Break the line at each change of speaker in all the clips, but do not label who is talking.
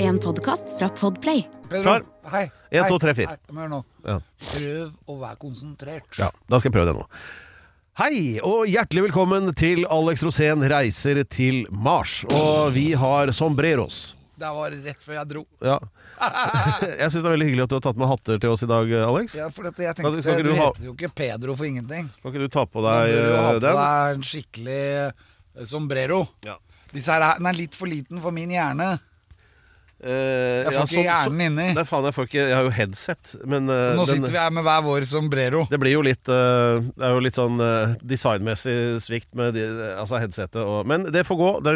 en podkast fra Podplay.
Pedro,
Klar?
Hei.
En,
hei,
to, tre, fire.
hei, kom her nå.
Ja.
Prøv å være konsentrert.
Ja, da skal jeg prøve det nå. Hei, og hjertelig velkommen til Alex Rosén reiser til Mars. Og vi har sombreros.
Det var rett før jeg dro.
Ja. Jeg syns det er veldig hyggelig at du har tatt med hatter til oss i dag, Alex.
Ja, for dette, jeg
Skal du-
tenkte,
skal ikke
du
du ha-
heter jo ikke Pedro for ingenting.
Kan ikke du ta på
Du
deg
bør jo ha
eh,
på
den?
deg en skikkelig eh, sombrero.
Ja.
Disse her, er- den er litt for liten for min hjerne.
Eh,
Jeg får
ja,
ikke
så-
hjernen inni.
så- Nei, faen, jeg får ikke Jeg har jo headset, men eh,
Nå
den-
sitter vi her med hver vår sombrero.
det blir jo litt eh, Det er jo litt sånn eh, designmessig svikt med de, altså headsetet og Men det får gå. Det,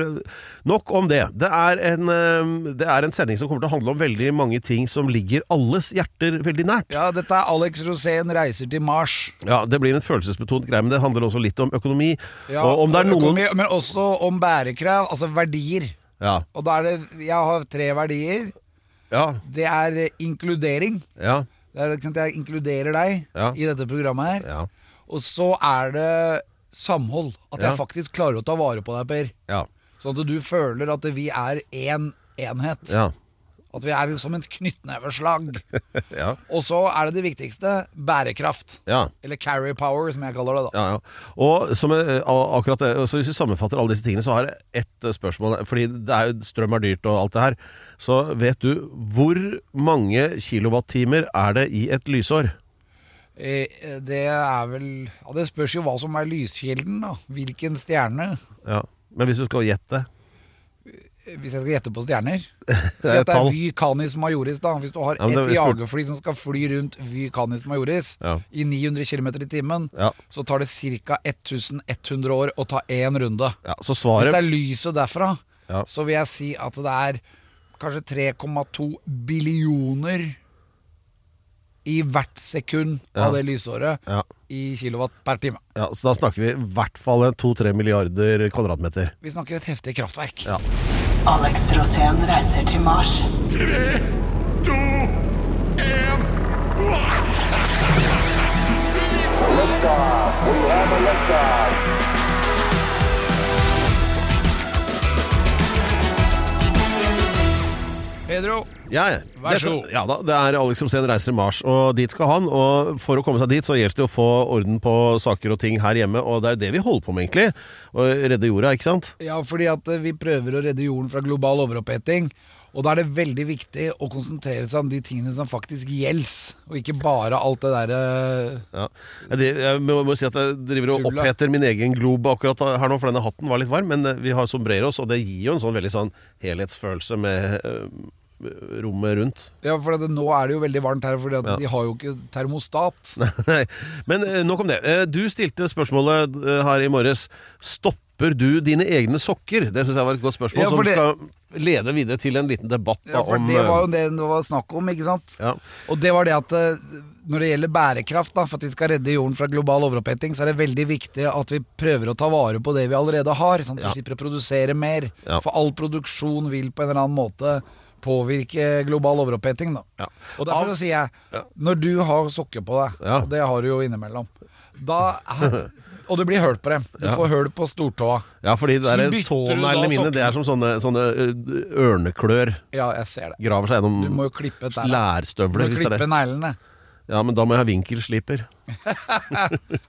nok om det. Det er, en, eh, det er en sending som kommer til å handle om veldig mange ting som ligger alles hjerter veldig nært.
Ja, dette er Alex Rosén reiser til Mars.
Ja, Det blir en følelsesbetont greie, men det handler også litt om økonomi.
Ja,
og om det er noen
økonomi, Men også om bærekrav, altså verdier.
Ja.
Og da er det Jeg har tre verdier.
Ja.
Det er eh, inkludering.
Ja.
Det er, ikke sant, jeg inkluderer deg
Ja.
i dette programmet her.
Ja.
Og så er det samhold. At
Ja.
jeg faktisk klarer å ta vare på deg, Per.
Ja.
Sånn at du føler at vi er én enhet.
Ja.
At vi er liksom som et knyttneveslag.
ja.
Og så er det det viktigste bærekraft.
ja.
Eller carry power, som jeg kaller det. da
Ja, ja. Og som, eh, a- akkurat det, så hvis vi sammenfatter alle disse tingene, så har jeg ett eh, spørsmål. Fordi det er, jo- strøm er dyrt og alt det her. Så vet du hvor mange kilowattimer er det i et lysår?
Eh, eh, Det er vel ja, Det spørs jo hva som er lyskilden. da Hvilken stjerne.
Ja. Men hvis du skal gjette
Eh, Hvis jeg skal gjette på stjerner Si at det
er et
er
tall.
Vy Canis Majoris. da Hvis du har
Ja, men det-
et
jeg spurte-
jagerfly som skal fly rundt Vy Canis Majoris
Ja.
i 900 km i timen,
Ja.
så tar det ca. 1100 år å ta én runde.
ja så
Hvis det
svaret
er lyset derfra,
Ja.
så vil jeg si at det er kanskje 3,2 billioner i hvert sekund av
Ja.
det lysåret
ja.
i kilowatt per time.
ja, Så da snakker vi i hvert fall en to-tre milliarder kvadratmeter.
Vi snakker et heftig kraftverk.
Ja.
Alex Rosén reiser til Mars.
Pedro,
Ja, ja.
Vær så god.
Dette- Ja da, det er Alex Rosén reiser til Mars, og dit skal han. Og for å komme seg dit, så gjelder det å få orden på saker og ting her hjemme, og det er jo det vi holder på med, egentlig. Å redde jorda, ikke sant?
ja, fordi at eh, vi prøver å redde jorden fra global overoppheting. Og da er det veldig viktig å konsentrere seg om de tingene som faktisk gjelder, og ikke bare alt det eh, derre
Ja. Jeg, driver, jeg må, må si at jeg driver og
Tulla.
oppheter min egen globe akkurat her nå, for denne hatten var litt varm, men eh, vi har sombreros, og det gir jo en sånn veldig sånn helhetsfølelse med eh, rommet rundt.
Ja, for at nå er det jo veldig varmt her, for
Ja.
de har jo ikke termostat.
Nei. Men eh, nok om det. Eh, Du stilte spørsmålet eh, her i morges. Stopper du dine egne sokker? Det syns jeg var et godt spørsmål,
Ja, for
som
det-
skal lede videre til en liten debatt da,
Ja, for
om
det
eh,
var jo det det var snakk om, ikke sant?
ja.
Og det var det at eh, når det gjelder bærekraft, da, for at vi skal redde jorden fra global overoppheting, så er det veldig viktig at vi prøver å ta vare på det vi allerede har. Sånn at
Ja.
vi slipper å produsere mer.
Ja.
For all produksjon vil på en eller annen måte påvirke global overoppheting. Da.
Ja.
Og derfor så sier jeg, når du har sokker på deg,
Ja.
og det har du jo innimellom, da, og det blir høl på dem, du
Ja.
får høl på stortåa.
ja, fordi
Så
det er
bytter du da
tåneglene mine
sokkene?
Det er som sånne, sånne ø, ørneklør.
Ja, jeg ser det.
Graver seg
Du må
gjennom
jo klippe et der. Du må
lærstøvler. Mm. Hvis det er
klippe
det.
neglene.
Ja, men da må jeg ha vinkelsliper.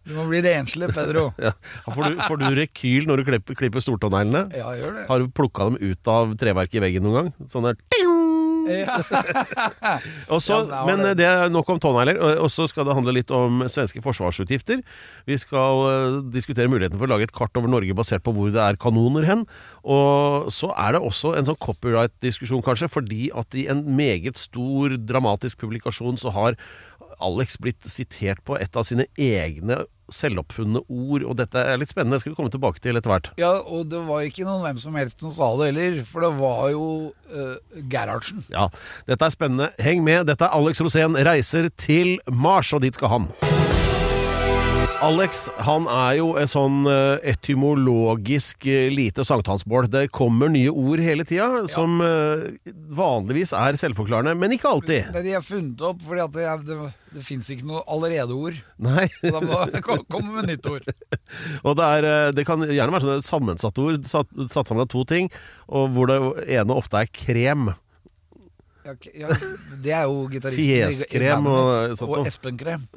Du må bli renslig, Pedro.
Ja. Får, du, får du rekyl når du klipper, klipper stortåneglene?
Ja, gjør det.
Har du plukka dem ut av treverket i veggen noen gang? Sånn der ting!
Ja.
Og så,
Ja, men det var
men
det.
eh, det er nok om tånegler. og- Og så skal det handle litt om svenske forsvarsutgifter. Vi skal eh, diskutere muligheten for å lage et kart over Norge basert på hvor det er kanoner hen. Og så er det også en sånn copyright-diskusjon, kanskje, fordi at i en meget stor dramatisk publikasjon så har Alex blitt sitert på et av sine egne selvoppfunne ord, og dette er litt spennende. Det skal vi komme tilbake til etter hvert.
Ja, og det var ikke noen hvem som helst som sa det heller, for det var jo eh, Gerhardsen.
Ja, dette er spennende. Heng med. Dette er Alex Rosén reiser til Mars, og dit skal han. Alex han er jo en sånn eh, etymologisk eh, lite sankthansbål. Det kommer nye ord hele tida, som eh, vanligvis er selvforklarende, men ikke alltid.
Nei, de har funnet opp, fordi at det, er- det, det fins ikke noe allerede-ord.
Nei.
Så Da må jeg ko- komme med nytt ord.
Og det, er, eh, det kan gjerne være sånne sammensatte ord, satt, satt sammen av to ting, og hvor det ene ofte er krem.
Ja, ok, ja, det er jo gitaristen i- i
Fjeskrem
bandet
og
mitt.
sånt
Og
noe.
Espen-krem.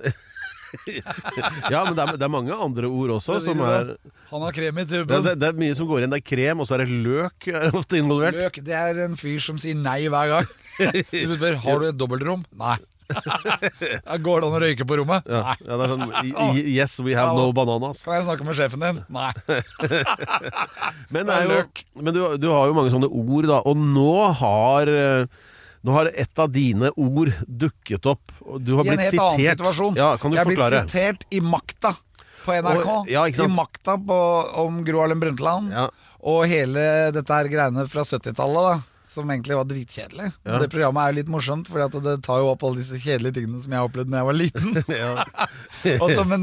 Ja, men det er, det er mange andre ord også som er
Han har krem i
ja,
tuben.
det, det er mye som går igjen. Det er krem, og så er det løk er ofte involvert.
Løk, det er en fyr som sier nei hver gang. Hvis du spør har du et dobbeltrom, nei. Ja, Går det an å røyke på rommet?
Ja,
Nei.
ja, det er sånn i- i- Yes, we have no bananas.
Kan jeg snakke med sjefen din? Nei. Det er
Men, det er jo, men du, du har jo mange sånne ord, da. Og nå har eh, nå har et av dine ord dukket opp. og Du har
I en
blitt
helt
sitert.
annen situasjon.
Ja, kan du
jeg er
forklare?
blitt sitert i Makta på NRK.
Og- ja, ikke sant?
I Makta på, om Gro Harlem Brundtland.
Ja.
Og hele dette her greiene fra 70-tallet, da. Som egentlig var dritkjedelig.
Ja.
Det programmet er jo litt morsomt, for det tar jo opp alle disse kjedelige tingene som jeg opplevde da jeg var liten.
ja.
Også, men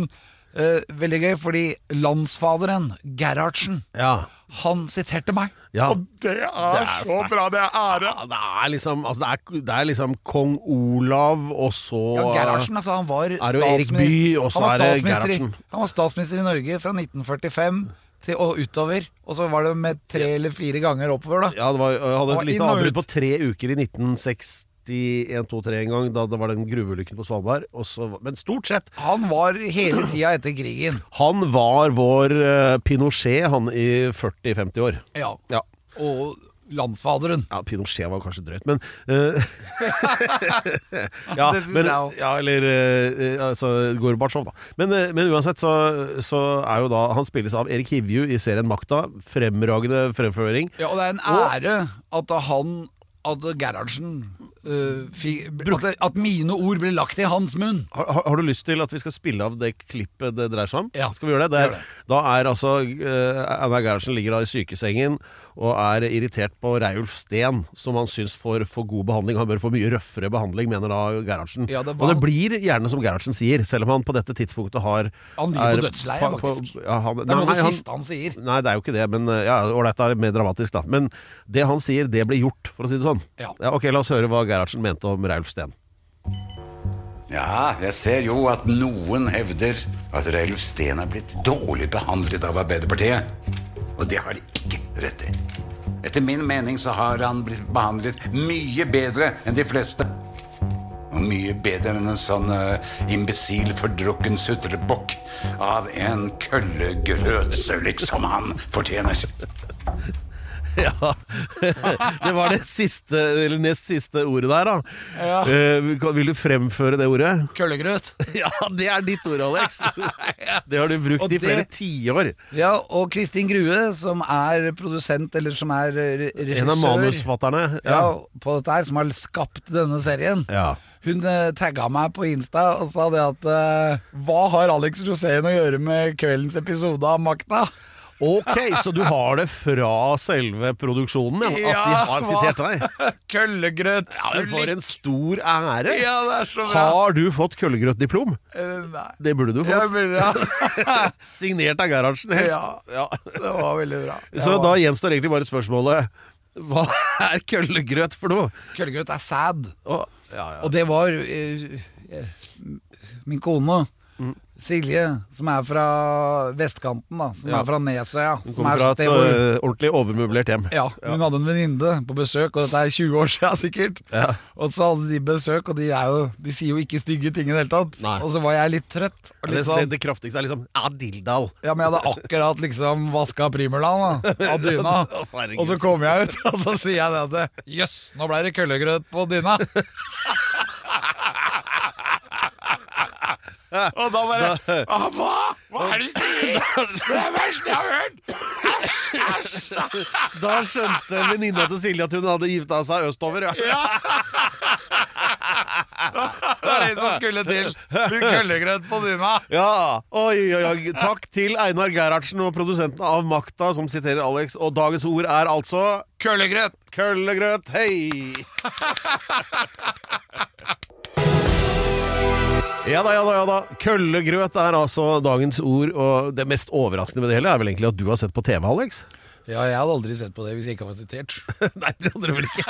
eh, veldig gøy, fordi landsfaderen, Gerhardsen,
ja.
han siterte meg.
Ja.
Og det er,
er
så
sterkt.
bra, det er ære.
Ja, Det er liksom altså det, er, det er liksom kong Olav, og så
Ja, Gerhardsen, altså. Han var
er det jo Erik Bye, og så
han var
er det
statsminister i-
Gerhardsen.
Han var statsminister i Norge fra 1945 til, og utover. Og så var det med tre eller fire ganger oppover, da.
Ja, det var, jeg hadde
Og
et lite
inn og
avbrudd
ut.
på tre uker i 1961, 2, 3 en gang, da det var den gruveulykken på Svalbard. Og så, men stort sett
Han var hele tida etter krigen.
Han var vår eh, Pinochet, han i 40-50 år.
Ja.
Ja.
Og landsfaderen.
ja, Pinochet var kanskje drøyt, men eh, ja,
Det synes
men,
jeg også.
ja, eller eh, altså, Gorbatsjov, da. Men, eh, men uansett så, så er jo da Han spilles av Erik Hivju i serien Makta. Fremragende fremføring.
Ja, og det er en ære at han At Gerhardsen øh, fikk at, at mine ord ble lagt i hans munn.
Har, har har du lyst til at vi skal spille av det klippet det dreier seg om?
Ja.
Skal vi gjøre det? det,
Gjør
er, Da er altså eh, Einar Gerhardsen ligger da i sykesengen og er irritert på Reiulf Steen, som han syns får for god behandling. Han bør få mye røffere behandling, mener da Gerhardsen.
Ja, det var-
Og det blir gjerne som Gerhardsen sier, selv om han på dette tidspunktet har
Han ligger på
er-
dødsleiet, faktisk.
ja, han,
Det er noe av det
han-
siste han sier.
Nei, det er jo ikke det, men eh, ja, ålreit, det er mer dramatisk, da. Men det han sier, det blir gjort, for å si det sånn.
Ja.
ok, la oss høre hva Gerhardsen mente om Reiulf Steen.
Ja, jeg ser jo at noen hevder at Reilf Steen er blitt dårlig behandlet av Arbeiderpartiet. Og det har de ikke rett i. Etter min mening så har han blitt behandlet mye bedre enn de fleste. Og mye bedre enn en sånn uh, imbesil, fordrukken sutrebukk av en køllegrøtsølik som han fortjener.
Ja. Det var det siste, eller nest siste ordet der, da.
Ja.
Eh, kan- vil du fremføre det ordet?
Køllegrøt.
Ja, det er ditt ord, Alex! Det har du brukt
Og
i
det-
flere tiår.
Ja, og Kristin Grue, som er produsent, eller som er re- regissør
En av manusforfatterne.
ja. på dette her, som har skapt denne serien.
Ja.
Hun eh, tagga meg på Insta og sa det at eh, Hva har Alex Rosén å gjøre med kveldens episode av Makta?
Ok, så du har det fra selve produksjonen, ja, at de har sitert deg?
Køllegrøt.
Ja, men for en stor ære!
Ja, det er så bra.
Har du fått køllegrøtdiplom?
Eh, nei.
Det burde du
Jeg
fått.
burde, ja.
Signert av Gerhardsen, helst.
Ja.
Ja.
Det var veldig bra. Jeg
Så
var-
da gjenstår egentlig bare spørsmålet Hva er køllegrøt for noe?
Køllegrøt er sæd.
Å, ja, ja.
Og det var eh, eh, min kone,
Mm.
Silje, som er fra vestkanten, da. Som
Ja.
er fra Nesøya.
Hun
Som
kommer
er
fra
et
et
sted hvor
øh, ordentlig overmøblert hjem.
ja, Hun hadde en venninne på besøk, og dette er 20 år siden sikkert.
Ja.
Og så hadde de besøk, og de, er jo, de sier jo ikke stygge ting i det hele tatt.
Nei.
Og så var jeg litt trøtt. Og
Det,
litt sånn,
det kraftigste er liksom Ja, dilldall.
ja, men jeg hadde akkurat liksom vaska primulaen da, av dyna.
Å, herregud.
Og så kommer jeg ut, og så sier jeg det at jøss, nå ble det køllegrøt på dyna. Og da bare «Ah, Hva? Hva er det du sier?
sånn.
Det er det verste jeg har hørt!
Da skjønte venninna til Silje at hun hadde gifta seg østover, ja.
Det var det som skulle til. Blir Køllegrøt på dyna.
Ja, oi, oi, oi. Takk til Einar Gerhardsen og produsenten av Makta, som siterer Alex. Og dagens ord er altså
Køllegrøt!
Køllegrøt, hei! Ja da, ja da, ja da. Køllegrøt er altså dagens ord, og det mest overraskende med det hele er vel egentlig at du har sett på TV, Alex?
Ja, jeg hadde aldri sett på det hvis jeg ikke var sitert.
Nei, det hadde du vel ikke?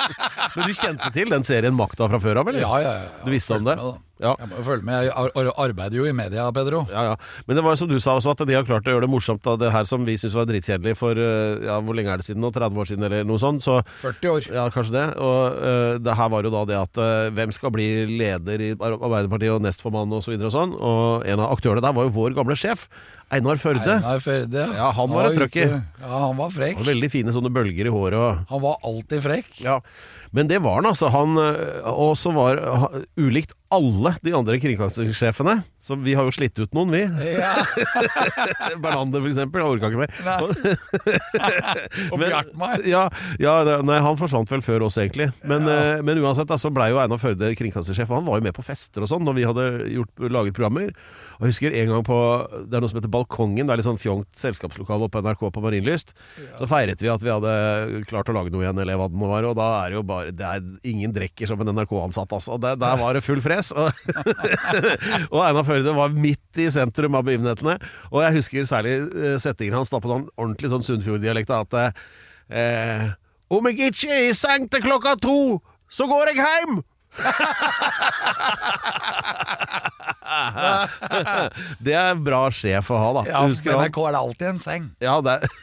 Men du kjente til den serien Makta fra før av, eller?
Ja, ja, ja.
Du visste om det?
Fulgt med,
Ja.
Jeg må jo følge med. Jeg ar- ar- arbeider jo i media, Pedro.
Ja, ja. Men det var jo som du sa også, at de har klart å gjøre det morsomt av det her som vi syns var dritkjedelig for eh, ja, hvor lenge er det siden nå? 30 år siden, eller noe sånt? Så
40 år.
ja, kanskje det. Og eh, det her var jo da det at eh, hvem skal bli leder i Ar- Arbeiderpartiet og nestformann og så videre og sånn. Og en av aktørene der var jo vår gamle sjef, Einar Førde.
Einar Førde.
Ja, han var et trøkk i.
ute. Ja, han var frekk.
Og veldig fine sånne bølger i håret og
Han var alltid frekk.
Ja, men det var han altså. Han øh, også var ha- ulikt alle de andre kringkastingssjefene. Så vi har jo slitt ut noen, vi.
Ja,
Bernander for eksempel, jeg orka ikke mer.
og
Men-
Bjartmar.
Ja, ja det- nei, han forsvant vel før oss, egentlig. Men, øh, men uansett, da, så blei jo Einar Førde kringkastingssjef. Og han var jo med på fester og sånn når vi hadde gjort, laget programmer. Og jeg husker en gang på Det er noe som heter Balkongen. Det er litt sånn fjongt selskapslokale oppe på NRK på Marienlyst. Så feiret vi at vi hadde klart å lage noe igjen, eller hva det nå var. Og da er det jo bare det er Ingen drikker som en NRK-ansatt, altså. Der, der var det full fres. Og og Einar Førde var midt i sentrum av begivenhetene. Og jeg husker særlig eh, setningen hans da på sånn ordentlig sånn Sunnfjord-dialekt da, at eh, Om jeg ikke er i seng til klokka to, så går jeg hjem! det er en bra sjef å ha, da.
Ja,
Du
på
husker han?
NRK er det alltid en seng.
Ja, det er,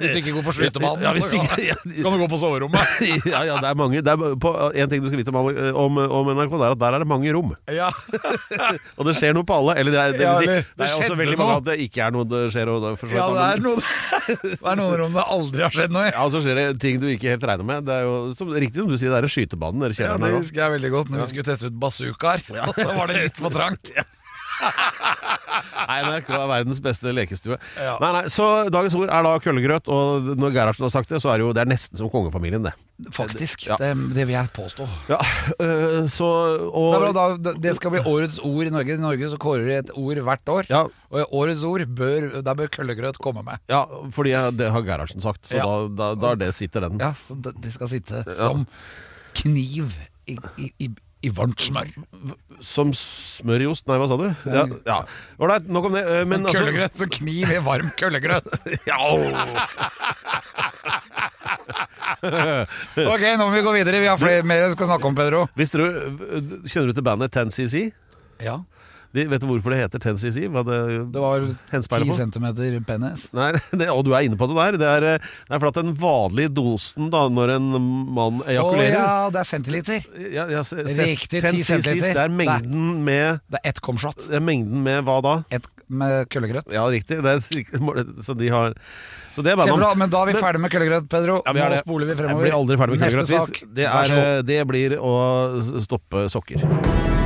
Hvis du ikke går på skytebanen,
Ja, hvis
så
ikke-
kan-
ja.
så kan du gå på soverommet.
ja, ja, det er mange. Det er, på, en ting du skal vite om, alle- om, om NRK, det er at der er det mange rom.
Ja.
Og det skjer noe på alle. Eller det, er, det,
Ja,
vil si,
eller
det er
det
også
skjedde
veldig mange
noe.
at det ikke er noe det skjer. Og det, for så vidt,
ja, det
men-
er noen Det er noen rom det aldri har skjedd noe i.
Ja, og så skjer det ting du ikke helt regner med. Det er jo som, riktig som du sier, det er skytebanen eller
Ja,
kjelleren
det
her også.
husker jeg veldig godt når vi skulle teste ut bazookaer. Da var det litt for trangt.
Nei, NRK er verdens beste lekestue.
Ja.
Nei, nei, så dagens ord er da køllegrøt, og når Gerhardsen har sagt det, så er det jo det er nesten som kongefamilien, det.
Faktisk.
Ja.
Det, det vil jeg påstå.
Ja, øh, så og,
Det, er bra, da, det skal bli årets ord i Norge. I Norge så kårer de et ord hvert år.
Ja.
Og årets ord, bør, der bør køllegrøt komme med.
ja, fordi jeg, det har Gerhardsen sagt, så
Ja.
da, da, da er det sitter den.
Ja, så det, det skal sitte som kniv i, i, i, i varmt smør.
Som smør i ost, nei, hva sa du? Ja, ja. Ålreit, nok om det. øh, Men altså
Køllegrøt som kniv i varm køllegrøt.
ja, åh.
Ok, nå må vi gå videre. Vi har flere mer vi skal snakke om, Pedro.
Visste du øh, Kjenner du til bandet 10CC?
Ja,
De, vet du hvorfor det heter 10CC? Hva det,
det var
henspeiler
ti
på?
centimeter penis.
Nei, det, og du er inne på det der. Det er, eh, det er for at den vanlige dosen da, når en mann
Å
ejakulerer
ja, det er centiliter.
ja, ja, se- ses-
Riktig, 10
10 cc,
centimeter.
Det er mengden med,
Det er ett komshot.
det er mengden med hva da?
Ett med køllegrøt.
Ja, riktig. Det er, cirka- så de har Så det er bandet.
Kjempebra, men da er vi ferdig med køllegrøt, Pedro.
Ja, vi er
nå
det.
spoler vi fremover.
Jeg blir aldri ferdig med
Neste
køllegrøt.
sak.
Det,
Vær
er,
så god.
eh, det blir å s- stoppe sokker. eh,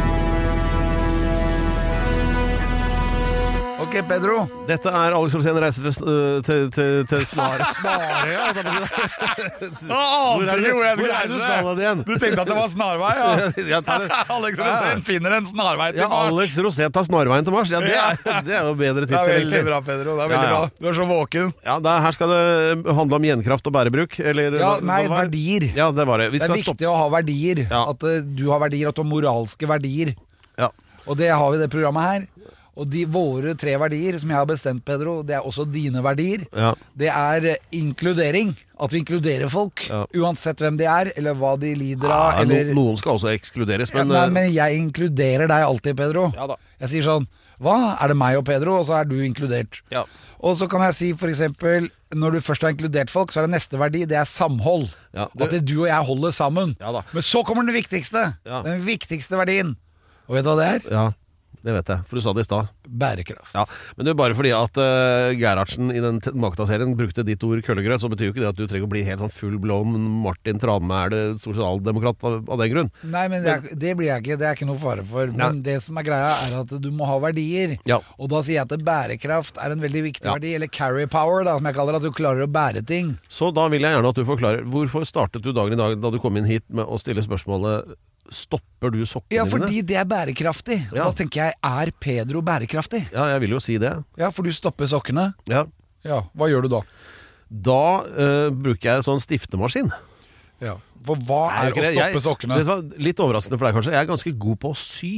Ok, Pedro.
Dette er Alex Rosén reiser til, sn- øh, til, til, til Snare...
Snarøy, ja. holdt jeg på å si. Nå
Hvor
ante
er
du hvor jeg
det- hvor
skulle
er det du
reise.
skal igjen?
Du tenkte at det var snarvei,
Ja, ta det.
ja. Alex Rosén finner en snarvei
Ja,
til Mars.
Alex Rosén tar snarveien til Mars. Ja, det er, det er jo bedre
Det
tittel,
er veldig
egentlig.
bra, Pedro. Det er
Ja,
veldig
ja.
bra. Du er så våken.
Ja, det, her skal det handle om gjenkraft og bærebruk. Eller,
Ja,
hva-
nei,
hva var-
verdier.
Ja, det var det. Vi
Det er
skal stoppe
viktig å ha verdier.
Ja.
At eh, du har verdier, at du har moralske verdier.
ja.
Og det har vi i det programmet her. Og de, våre tre verdier som jeg har bestemt, Pedro, det er også dine verdier.
Ja.
Det er eh, inkludering. At vi inkluderer folk.
Ja.
Uansett hvem de er, eller hva de lider av,
Ja,
eller
no, Noen skal også ekskluderes, men,
ja,
eh,
Nei, men jeg inkluderer deg alltid, Pedro.
Ja da.
Jeg sier sånn Hva? Er det meg og Pedro, og så er du inkludert?
Ja.
Og så kan jeg si for eksempel Når du først har inkludert folk, så er det neste verdi, det er samhold.
Ja,
At det, du og jeg holder sammen.
Ja da.
Men så kommer den viktigste.
Ja.
Den viktigste verdien. Og vet du hva det er?
ja, det vet jeg, for du sa det i stad.
Bærekraft.
Ja. Men det er bare fordi at eh, Gerhardsen i den t- Makta-serien brukte ditt ord køllegrøt, så betyr jo ikke det at du trenger å bli helt sånn full blown Martin Tranmæle sosialdemokrat av, av den grunn.
Nei, men det, er, det blir jeg ikke. Det er ikke noe fare for. Men det som er greia, er at du må ha verdier.
Ja.
Og da sier jeg at bærekraft er en veldig viktig
Ja.
verdi. Eller carry power, da, som jeg kaller det. At du klarer å bære ting.
Så da vil jeg gjerne at du forklarer hvorfor startet du dagen i dag da du kom inn hit med å stille spørsmålet Stopper du sokkene
Ja,
dine?
fordi det er bærekraftig. Og
Ja.
Da tenker jeg, er Pedro bærekraftig?
Ja, jeg vil jo si det.
Ja, for du stopper sokkene.
Ja.
Ja, hva gjør du da?
Da eh, bruker jeg sånn stiftemaskin.
Ja. For hva
Nei,
er
ikke
å
det.
stoppe
Jeg-
sokkene?
Vet du hva, litt overraskende for deg kanskje, jeg er ganske god på å sy.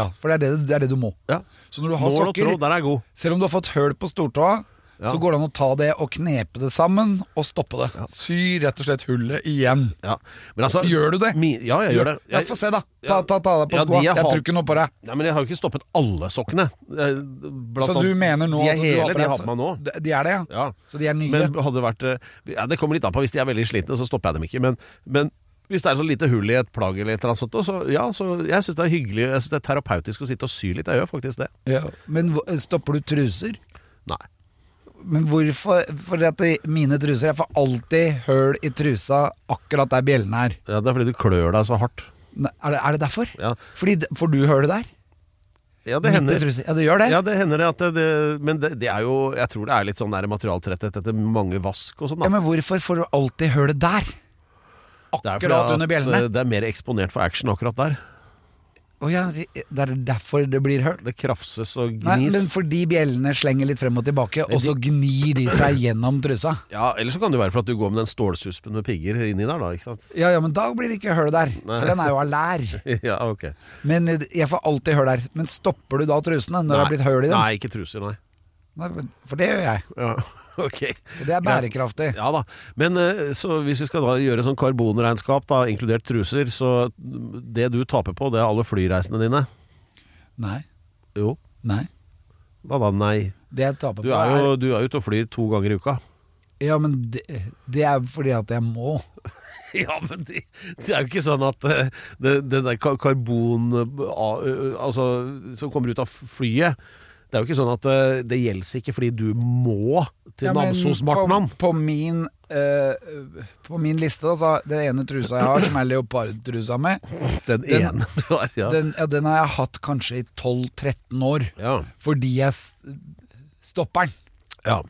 Ja, for det er det, det er det du må.
Ja.
Så når du har
Mål og
sokker,
tråd, der er jeg god.
selv om du har fått høl på stortåa,
Ja.
så går det an å ta det og knepe det sammen og stoppe det. Sy rett og slett hullet igjen.
Ja. Men altså,
Gjør du det?
Mi, ja, jeg gjør det.
Ja, Få se, da. Ta, ta, ta deg på
Ja, de
skoa.
jeg
Jeg
har-
tror ikke noe på deg.
Nei, men jeg har jo ikke stoppet alle sokkene. Eh, Blant
Så du
annet-
mener nå
De
at du
er hele,
på
de
deg
jeg har
så-
på meg nå.
De- De er det, ja?
Ja.
Så de er nye?
Men hadde det vært eh, ja, Det kommer litt an på. Hvis de er veldig slitne, så stopper jeg dem ikke. Men, men hvis det er så lite hull i et plagg eller et eller annet sånt, så ja, så jeg syns det er hyggelig. Jeg synes det er terapeutisk å sitte og sy litt. Jeg gjør faktisk det.
ja. Men hva- stopper du truser?
Nei.
Men hvorfor? Fordi at de- mine truser Jeg får alltid høl i trusa akkurat der bjellen er.
Ja, det er fordi du klør deg så hardt.
Ne- Er det, er det derfor?
Ja.
Fordi, d- får du hølet der?
Ja,
Midt
det
i
hender.
trusa. Ja, det gjør det.
Ja, det hender det at det, det Men det, det er jo Jeg tror det er litt sånn der materialtretthet etter mange vask og sånn. da.
Ja, men hvorfor får du alltid hølet der?
Det er fordi
Akkurat
at,
under bjellene?
eh, Det er mer eksponert for action akkurat der. eh,
Å ja, det det er derfor det blir høl.
Det krafses og gnis.
Nei, men fordi bjellene slenger litt frem og tilbake, og så gnir de seg gjennom trusa.
Ja, Eller så kan det være for at du går med den stålsuspen med pigger inni der, da. ikke sant?
Ja, ja, men da blir det ikke høl der,
Nei.
for den er jo av lær.
ja, ok
Men eh, jeg får alltid høl der. Men stopper du da trusene når det har blitt høl i dem?
Nei, ikke truser, nei.
Nei, men- For det gjør jeg.
Ja, ok.
Og det er
Greit.
bærekraftig.
Ja da. Men eh, så hvis vi skal da gjøre sånn karbonregnskap, da, inkludert truser, så det du taper på, det er alle flyreisene dine.
Nei.
Jo.
Nei.
Hva da, nei?
Det jeg taper
Du
på
er jo
er
du er ute og flyr to ganger i uka.
Ja, men det, det er fordi at jeg må.
Ja, men det, det er jo ikke sånn at eh, det, det der ka- karbon eh, a- ø- Altså, som kommer ut av flyet Det er jo ikke sånn at eh, det gjelder ikke fordi du må til
Ja,
ja,
men
Namsos-Martnan.
På, på min eh, På min liste, da, så har- den ene trusa jeg har, som er leopardtrusa med,
Den
den-
ene du har, ja.
den, ja, den har jeg hatt kanskje i 12-13 år.
ja.
Fordi jeg s- stopper den.
Ja,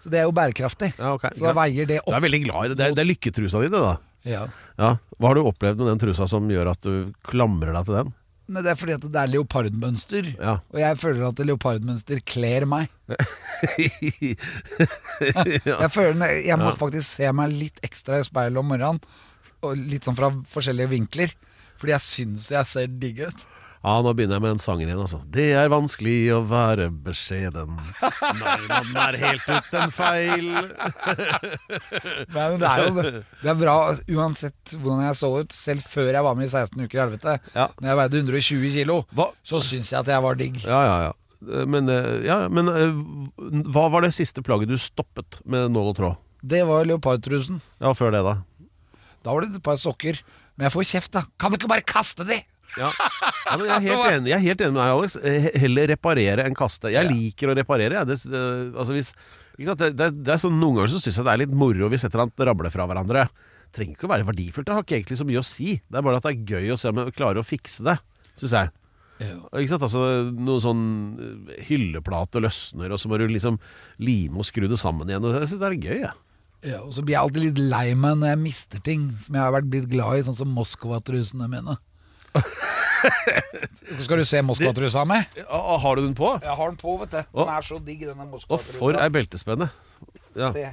Så det er jo bærekraftig.
ja ok.
Så da veier det
Du
opp.
er veldig glad i det. Det er, det er lykketrusa di, det, da.
Ja.
Ja. Hva har du opplevd med den trusa som gjør at du klamrer deg til den?
Nei, det er fordi at det er leopardmønster.
Ja.
Og jeg føler at leopardmønster kler meg. Jeg, føler, når- jeg må faktisk se meg litt ekstra i speilet om morgenen, og litt sånn fra forskjellige vinkler. Fordi jeg syns jeg ser digg ut.
Ja, nå begynner jeg med den sangen igjen, altså. Det er vanskelig å være beskjeden når man er helt uten feil.
Men det er jo det er bra Altså, uansett hvordan jeg så ut. Selv før jeg var med i 16 uker i helvete,
Ja.
når jeg veide 120 kilo,
Hva?
så syns jeg at jeg var digg.
Ja, ja, ja. Eh, Men, eh, ja, men eh, hva var det siste plagget du stoppet med nål og tråd?
Det var leopardtrusen.
Ja, før det, da.
Da var det et par sokker. Men jeg får kjeft, da. Kan du ikke bare kaste de?
Ja. Ja, men jeg, er helt enig, jeg er helt enig med deg, Alex. Eh, he- Heller reparere enn kaste. Jeg liker å reparere. Jeg. Det, s- eh, altså hvis, ikke sant? Det, det, det er sånn, noen ganger så syns jeg det er litt moro hvis et eller annet ramler fra hverandre. Trenger ikke å være verdifullt, det har ikke egentlig så mye å si. Det er bare at det er gøy å se om jeg klarer å fikse det, syns jeg. Ikke sant? Altså, noen sånn eh, hylleplate løsner, og så må du liksom lime og skru det sammen igjen. Og jeg syns det er gøy, jeg.
Ja, og så blir jeg alltid litt lei meg når jeg mister ting som jeg har vært blitt glad i, sånn som Moskva-trusene mine. Skal du se Moskva-trusa mi?
Ah, Har du den på?
Jeg har den på, vet du.
Å.
Den er så digg, denne
Å, for ei beltespenne. Ja.
Se.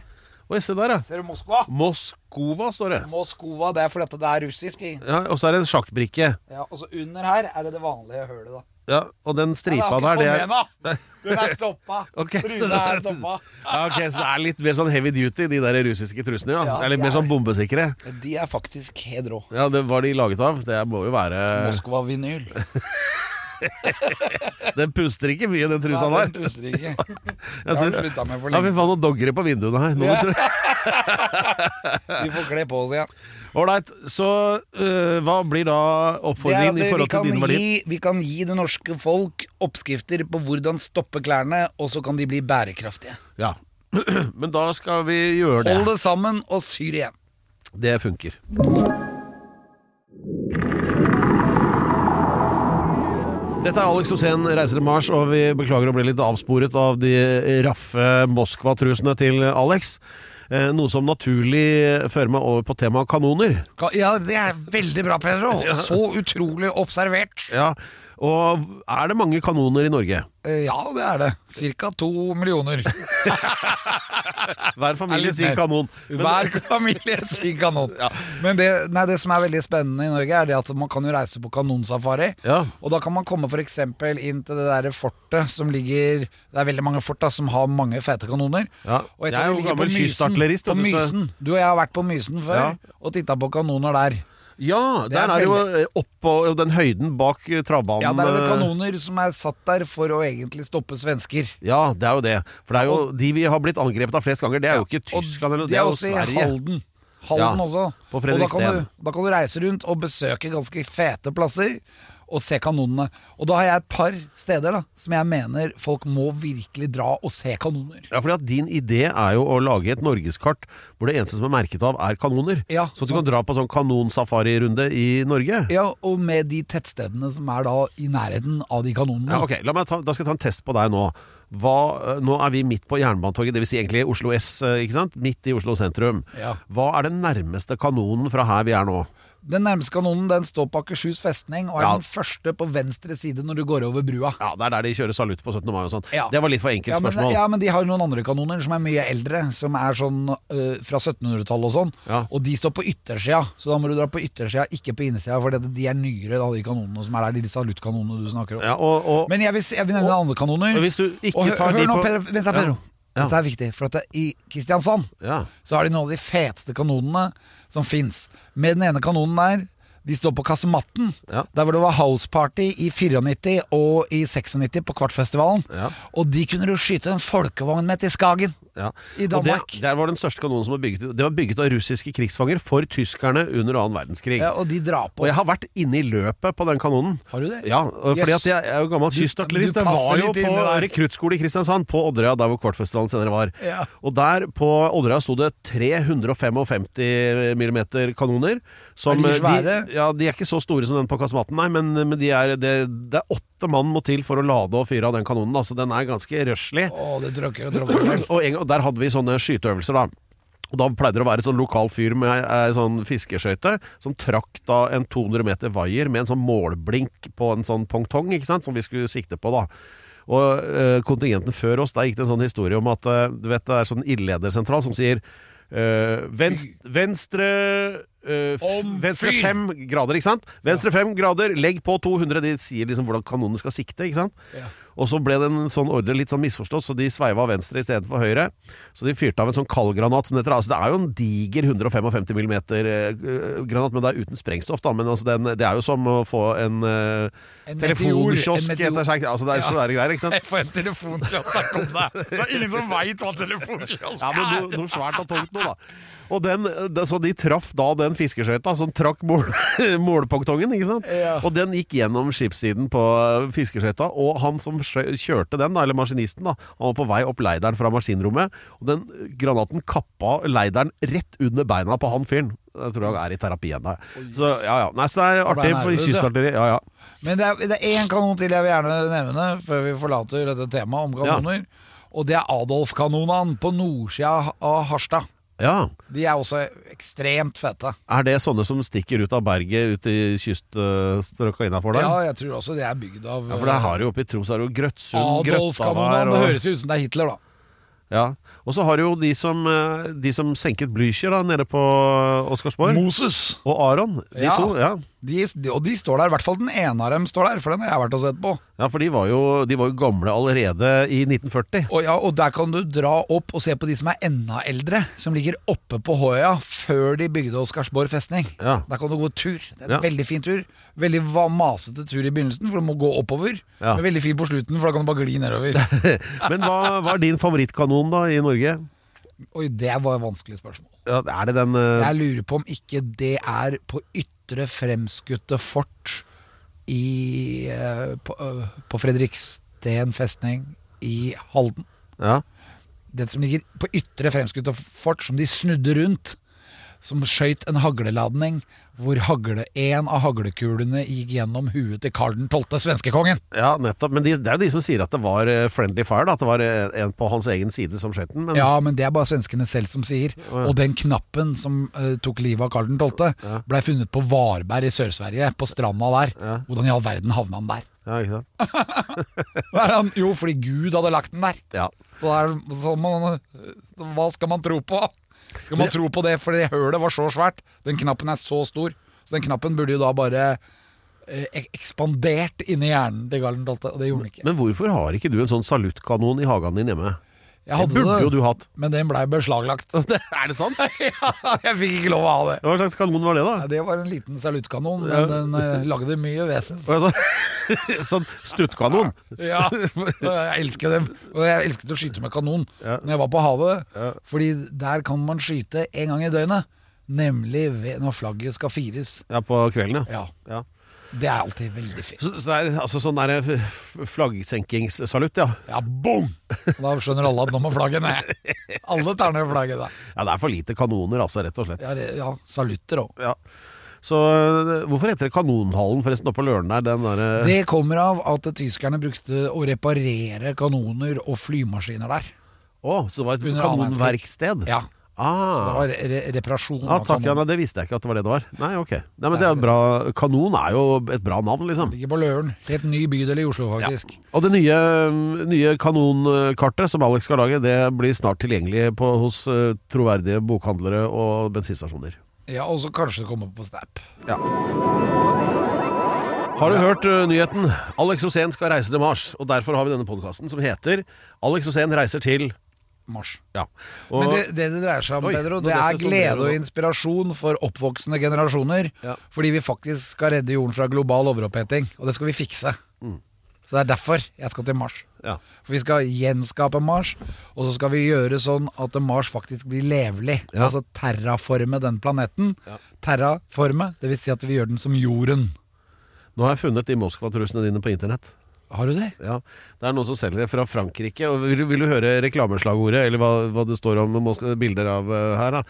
Oi, se der, ja.
Ser du Moskva?
Moskova står det.
Moskva, det er fordi at det er russisk. i.
Ja, og så er det en sjakkbrikke.
Ja, og så under her er det det vanlige hølet, da.
Ja, og den stripa der, det er
er Den er stoppa.
Ok.
Trusa er stoppa.
ja, ok, så det er litt mer sånn heavy duty, de der russiske trusene, ja.
Ja,
Det er litt
de
mer sånn
er-
bombesikre.
De er faktisk helt rå.
Ja, det var de laget av. Det må jo være
Moskva-vinyl.
Den puster ikke mye, den trusa
Nei,
sånn der.
den puster ikke.
Jeg
har
ser-
den sluttet med for
Ja,
lenge.
vi faen noen dogre på vinduene her. Nå må du-
Vi får kle på oss igjen.
Ålreit, så øh, hva blir da
Det er at
oppfordringen i
vi
forhold til
kan,
dine verdier?
gi, vi kan gi det norske folk oppskrifter på hvordan stoppe klærne, og så kan de bli bærekraftige.
Ja. Men da skal vi gjøre det.
Hold det sammen og syr igjen.
Det funker. Dette er Alex Rosén, reiser til Mars, og vi beklager å bli litt avsporet av de raffe Moskva-trusene til Alex. Eh, Noe som naturlig fører meg over på temaet kanoner.
Ka- Ja, det er veldig bra, Pedro. Så utrolig observert.
Ja, Og er det mange kanoner i Norge?
Eh, Ja, det er det. Cirka to millioner.
Hver familie
litt
sier
mer.
kanon. Men-
Hver familie sier kanon. Men det, nei, det som er veldig spennende i Norge, er det at man kan jo reise på kanonsafari.
Ja.
Og da kan man komme f.eks. inn til det derre fortet som ligger Det er veldig mange fort da som har mange fete kanoner.
Ja.
Og et
Jeg er
av
jo
de ligger på
gammel
Mysen.
kystartillerist,
På
vet du, så-
Mysen. Du og jeg har vært på Mysen før
Ja.
og titta på kanoner der.
Ja,
Det er
der er det jo eh, oppå den høyden bak eh, travbanen.
Ja, der er det
eh,
kanoner som er satt der for å egentlig stoppe svensker.
Ja, det er jo det. For det er jo de vi har blitt angrepet av flest ganger, det er jo ikke Tyskland
og
eller
det er også i Halden. Halden
Ja,
også.
på
og da kan,
Fredriksten.
du, da kan du reise rundt og besøke ganske fete plasser og se kanonene. Og da har jeg et par steder da som jeg mener folk må virkelig dra og se kanoner.
Ja, fordi at Din idé er jo å lage et norgeskart hvor det eneste som er merket av, er kanoner.
Ja,
så at du
sant.
kan dra på sånn kanonsafarirunde i Norge.
Ja, og med de tettstedene som er da i nærheten av de kanonene.
Ja, ok, La meg ta, Da skal jeg ta en test på deg nå. Hva, eh, nå er vi midt på Jernbanetorget, dvs. Si egentlig Oslo S, eh, ikke sant? midt i Oslo sentrum.
Ja.
Hva er den nærmeste kanonen fra her vi er nå?
Den nærmeste kanonen den står på Akershus festning og er
Ja.
den første på venstre side når du går over brua.
Ja, Det er der de kjører salutt på 17. mai og sånn.
Ja.
Det var litt for enkelt
Ja men,
spørsmål.
ja, men de har jo noen andre kanoner som er mye eldre, som er sånn øh, fra 1700-tallet og sånn.
Ja.
Og de står på yttersida, så da må du dra på yttersida, ikke på innsida, for det- de er nyere, da, de kanonene som er der, de saluttkanonene du snakker om.
Ja, og, og,
Men jeg vil, s- jeg vil nevne andre kanoner.
Og hvis du ikke
hø-
tar
hør
de
nå,
på-
Pedro, Vent da,
Ja.
Pedro.
Ja.
Dette er viktig, for at det, i Kristiansand
ja.
så har de noen av de feteste kanonene som fins. Med den ene kanonen der de står på Kassematten,
Ja.
der hvor det var houseparty i 94 og i 96 på Kvartfestivalen.
Ja.
Og de kunne du skyte en folkevogn med til Skagen.
Ja.
I
Og
Danmark.
Det, der var den største kanonen som var bygget Det var bygget av russiske krigsfanger for tyskerne under annen verdenskrig.
Ja, og de drar på.
Og jeg har vært inne i løpet på den kanonen.
Har du det?
Ja, og fordi
Yes.
at jeg er jo gammel
Du-
kystartillerist.
du
Jeg var
passer
jo
litt
på
inne der.
rekruttskole i Kristiansand, på Odderøya, der hvor Kvartfestivalen senere var.
Ja.
Og der på Odderøya sto det 355 millimeter kanoner. Som, eh,
Er de svære?
De, ja, de er ikke så store som den på Kasematen, nei, men, men de er, det, det er åtte mann må til for å lade og fyre av den kanonen. da, Så den er ganske røslig.
Å, det tråkker og tråkker. vel.
Og, en, gang- og der hadde vi sånne skyteøvelser da og da pleide det å være sånn lokal fyr med ei sånn fiskeskøyte som trakk da en 200 meter vaier med en sånn målblink på en sånn pongtong, ikke sant, som vi skulle sikte på, da. Og eh, kontingenten før oss, der gikk det en sånn historie om at eh, du vet, det er sånn ildledersentral som sier eh, venst, venstre eh, f-
Om
Venstre
fyr!
fem grader, ikke sant? Venstre fem grader, legg på 200. De sier liksom hvordan kanonen skal sikte, ikke sant?
Ja.
Og så ble den sånn ordre litt sånn misforstått, så de sveiva venstre istedenfor høyre. Så de fyrte av en sånn kaldgranat som det heter. Altså, det er jo en diger 155 mm eh, granat, men det er uten sprengstoff, da. Men altså, den, det er jo som å få en, eh,
En
telefonkiosk,
meteor, en meteor.
heter det seg. Altså, det er
Ja.
svære greier, ikke sant?
får en telefonkiosk der, kom deg. Det er ingen som veit hva telefonkiosk
Ja, men noe, noe svært og tungt noe, da. Og den, da- så de traff da den fiskeskøyta som trakk mål, målpongtongen, ikke sant?
Ja.
Og den gikk gjennom skipssiden på eh, fiskeskøyta, og han som skjø- kjørte den, da, eller maskinisten, da, han var på vei opp leideren fra maskinrommet, og den granaten kappa leideren rett under beina på han fyren. Jeg tror han er i terapi ennå. Så ja, ja. Nei, så det er
Da ble han
artig for
nervøs, ja.
kystartilleri. Ja, ja.
Men det er, det er én kanon til jeg vil gjerne nevne før vi forlater dette temaet om kanoner. Og det er Adolf-kanonene på nordsida av Harstad.
ja.
De er også ekstremt fete.
Er det sånne som stikker ut av berget ut i kyststrøka innafor der?
Ja, jeg tror også det er bygd av eh,
Ja, for der har du jo oppe i Troms er det jo Grøtsund, Grøtta
Adolf-kanonene. Det høres ut som det er Hitler, da.
ja. Og så har du jo de som, eh, de som senket Blücher da, nede på Oscarsborg.
Moses.
og Aron, de
Ja.
to. Ja.
De, de, og de står der, i hvert fall den ene av dem står der, for den har jeg vært og sett på.
ja, for de var, jo, de var jo gamle allerede i 1940.
Og, ja, og der kan du dra opp og se på de som er enda eldre, som ligger oppe på Håøya før de bygde Oscarsborg festning.
Ja.
Der kan du gå tur. Det er en
Ja.
veldig fin tur. Veldig va- masete tur i begynnelsen, for du må gå oppover.
Ja.
Men veldig fin på slutten, for da kan du bare gli nedover.
Men hva, hva er din favorittkanon da i Norge?
Oi, det var et vanskelig spørsmål.
Ja, er det den eh,
Jeg lurer på om ikke det er på ytre fremskutte fort i, eh, på, eh, på Fredriksten festning i Halden.
ja.
Den som ligger på ytre fremskutte fort, som de snudde rundt. Som skøyt en hagleladning hvor hagle, en av haglekulene gikk gjennom huet til Karl 12., svenskekongen.
ja, nettopp. Men de, det er jo de som sier at det var eh, friendly fire, da. At det var eh, en på hans egen side som skjøt den. Men
Ja, men det er bare svenskene selv som sier. Og den knappen som eh, tok livet av Karl 12., blei funnet på Varberg i Sør-Sverige, på stranda der. Hvordan i all verden havna han der?
Ja, ikke sant?
Hva er det han? Jo, fordi Gud hadde lagt den der.
Ja.
Så er, det- så man, eh, så hva skal man tro på? Skal man tro på det fordi hølet var så svært? Den knappen er så stor. Så den knappen burde jo da bare eh, ek- ekspandert inni hjernen til Garlen Dolte, og det gjorde den ikke.
Men hvorfor har ikke du en sånn saluttkanon i hagen din hjemme?
Jeg hadde
det burde
det,
jo du hatt.
men den blei beslaglagt.
er det sant?
Jeg fikk ikke lov å ha det.
Hva slags kanon var det, da?
Nei, Det var en liten saluttkanon, men den eh, lagde mye vesen.
Og jeg sa- sånn stuttkanon.
Ja, jeg elsket dem. Og jeg elsket å skyte med kanon
Ja.
når jeg var på havet. Fordi der kan man skyte en gang i døgnet. Nemlig ved, når flagget skal fires.
Ja, på kvelden, ja.
Ja,
ja.
Det er alltid veldig fint.
Så, så det er altså sånn der f- f- flaggsenkingssalutt, ja.
Ja, boom! Da skjønner alle at nå må flagget ned. Alle tar ned flagget da.
Ja, det er for lite kanoner, altså, rett og slett.
Ja, det- ja salutter òg.
Ja. Så øh, hvorfor heter det Kanonhallen forresten oppe på Løren der? Den der øh,
Det kommer av at tyskerne brukte å reparere kanoner og flymaskiner der.
Å, så det var et
Under annen
kanonverksted?
Ja, så det
Ah.
var re reparasjon
Ja,
av
takk, ja,
kanoner.
nei, det visste jeg ikke at det var det det var. Nei, ok. Nei, men det er jo bra. Kanon er jo et bra navn, liksom.
Ligger på Løren. Helt ny bydel i Oslo, faktisk.
Og det nye, nye kanonkartet som Alex skal lage, det blir snart tilgjengelig på, hos eh, troverdige bokhandlere og bensinstasjoner.
Ja, Og så kanskje det kommer på Snap.
Ja. Har du hørt eh, nyheten? Alex Osen skal reise til Mars, og derfor har vi denne podkasten som heter 'Alex Osen reiser til
Mars.
Ja. Og,
Men det, det det dreier seg om,
Oi,
Pedro, det
nå detter
er
sommeren
glede
nå.
og inspirasjon for oppvoksende generasjoner.
Ja.
Fordi vi faktisk skal redde jorden fra global overoppheting, og det skal vi fikse.
Mm.
Så det er derfor jeg skal til Mars.
ja.
For vi skal gjenskape Mars, og så skal vi gjøre sånn at Mars faktisk blir levelig.
Ja.
Altså terraforme den planeten. Terraforme, det vil si at vi gjør den som jorden.
Nå har jeg funnet de Moskva-trusene dine på internett.
Har du det?
Ja, Det er noen som selger det fra Frankrike. Og vil, vil du høre reklameslagordet, eller hva, hva det står om Mos- bilder av eh, her? da?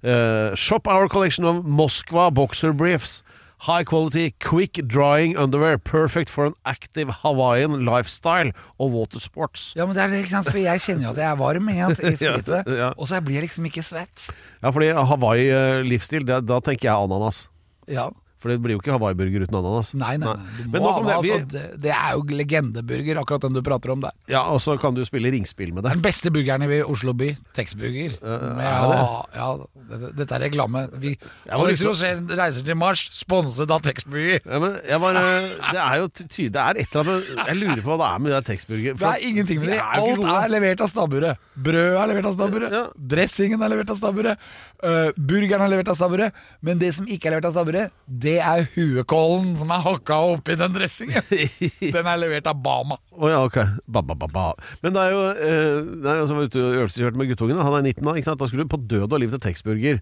Eh, shop our collection of Moskva boxer briefs. High quality, quick drying underwear. Perfect for an active Hawaiian lifestyle og water sports.
Ja, men det er ikke sant, for jeg kjenner jo at jeg er varm ikke sant, i skrittet,
Ja, ja.
og så blir jeg liksom ikke svett.
Ja, fordi Hawaii-livsstil, da tenker jeg ananas.
Ja.
For det blir jo ikke Hawaii-burger uten ananas.
Nei, nei, nei. Du
Men
må
nok om
ha det,
det.
altså,
Vi,
det, det er jo legendeburger, akkurat den du prater om der.
ja, og så kan du spille ringspill med
Det er den
det.
beste burgeren i Oslo by. Texburger. Men Ja, ja, det- dette er reklame. Vi,
var
Alex
litt-
Rosén reiser til Mars, sponset av Texburger.
Ja, men jeg var, eh, det er jo tydelig Det er et eller annet med- Jeg lurer på hva det er med det Texburger.
Det er ingenting med det.
jo ikke
Alt
gode.
er levert av stabburet. Brødet er levert av stabburet.
Ja.
Dressingen er levert av stabburet. øh, burgeren er levert av stabburet. Men det som ikke er levert av stabburet, det er huekålen som er hakka opp i den dressingen. Den er levert av Bama.
Å ja, ok. Ba, ba, ba, ba. Men det er jo eh, Det er jo som var ute og øvelseskjørte med guttungen. da. Han er 19 da. ikke sant? Da skulle du på død og liv til Texburger.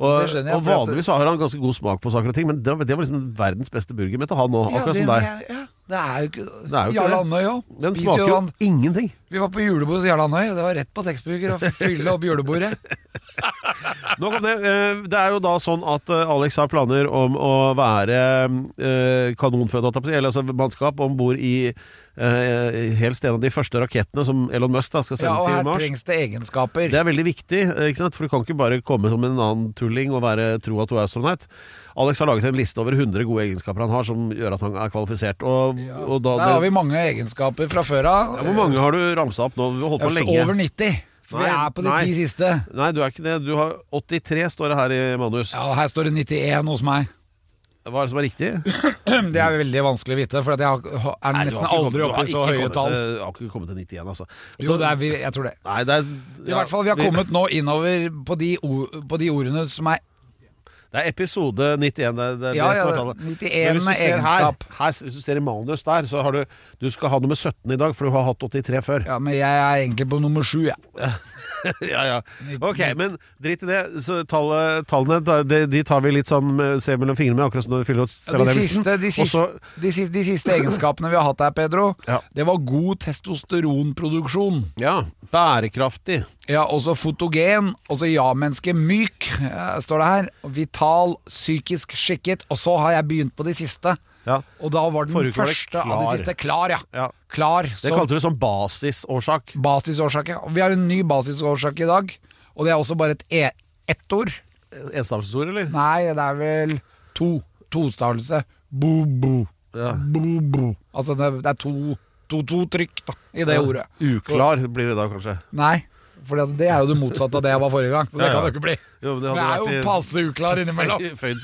Og,
Det skjønner jeg,
og
for at-
vanligvis så har han ganske god smak på saker og ting, men det, det var liksom verdens beste burger. Men til han nå, akkurat som deg.
Ja, det er jo ikke,
Det er jo ikke
Jarl
det.
Andøy òg.
Den smaker jo ingenting.
Vi var på julebord hos Jarl Andøy, og det var rett på tekstbruker å fylle opp julebordet.
Nok om det. Eh, Det er jo da sånn at eh, Alex har planer om å være eh, kanonfødt, holdt jeg på å si, eller altså mannskap, om bord i eh, helst en av de første rakettene som Elon Musk da skal
Ja,
sende
og her
til Mars.
trengs det egenskaper.
Det er veldig viktig, eh, ikke sant? for du kan ikke bare komme som en annen tulling og være tro at du er astronaut. Alex har laget en liste over 100 gode egenskaper han har som gjør at han er kvalifisert. Og, og da,
Der har vi mange egenskaper fra før av.
ja, hvor mange har du ramsa opp nå? Vi har holdt på
Ja,
lenge.
Over 90. For vi
Nei,
er på de
nei.
ti siste.
Nei, du er ikke det. Du har 83, står det her i manus.
Ja, her står det 91 hos meg.
Hva er det som er riktig?
Det er veldig vanskelig å vite, for at jeg har- er
Nei, du har
nesten
ikke kommet-
aldri
du
oppe
har
i så
ikke
høye
kommet
tall.
til- Du har ikke kommet til 91, altså.
Jo,
Så-
det er, vi- jeg tror det.
Nei, det er
I
ja,
hvert fall, vi har kommet nå innover på de, o- på de ordene som er
Det er episode 91. Det, det,
Ja,
er det som
ja,
er tallet.
91
Men hvis du
med
ser
egenskap.
Her, her, hvis du ser i manus der, så har du Du skal ha nummer 17 i dag, for du har hatt 83 før.
Ja, men jeg er egentlig på nummer sju, jeg.
ja, ja. Ok, men drit i det. Så tallet, tallene, da- de, de tar vi litt sånn med, ser mellom fingrene med, akkurat som når vi fyller oss
Ja, de,
Sevanelsen.
siste, de,
Og
siste,
så-
de, siste, de siste egenskapene vi har hatt her, Pedro,
Ja.
det var god testosteronproduksjon.
Ja. Bærekraftig.
Ja, også fotogen, også ja-menneske myk, eh, står det her. Vital, psykisk skikket, og så har jeg begynt på de siste.
Ja.
Og da var den
Forrige uke var det
første av
klar.
de siste klar, ja.
Ja.
Klar
Det
som
kalte du sånn basisårsak.
basisårsak. ja. Og vi har en ny basisårsak i dag, og det er også bare et e ett-ord.
Enstavelsesord, eller?
Nei, det er vel to. Tostavelse. Bo-bo.
Ja.
Blu, blu. Altså det er- det er to, to, to trykk da, i det ordet.
Uklar blir det da, kanskje.
Nei, for det er jo det motsatte av det jeg var forrige gang. Så det
Ja, ja.
kan det jo ikke bli.
Jo, men det
det,
hadde
er
vært
jo
i-
passe uklar innimellom.
Føyd.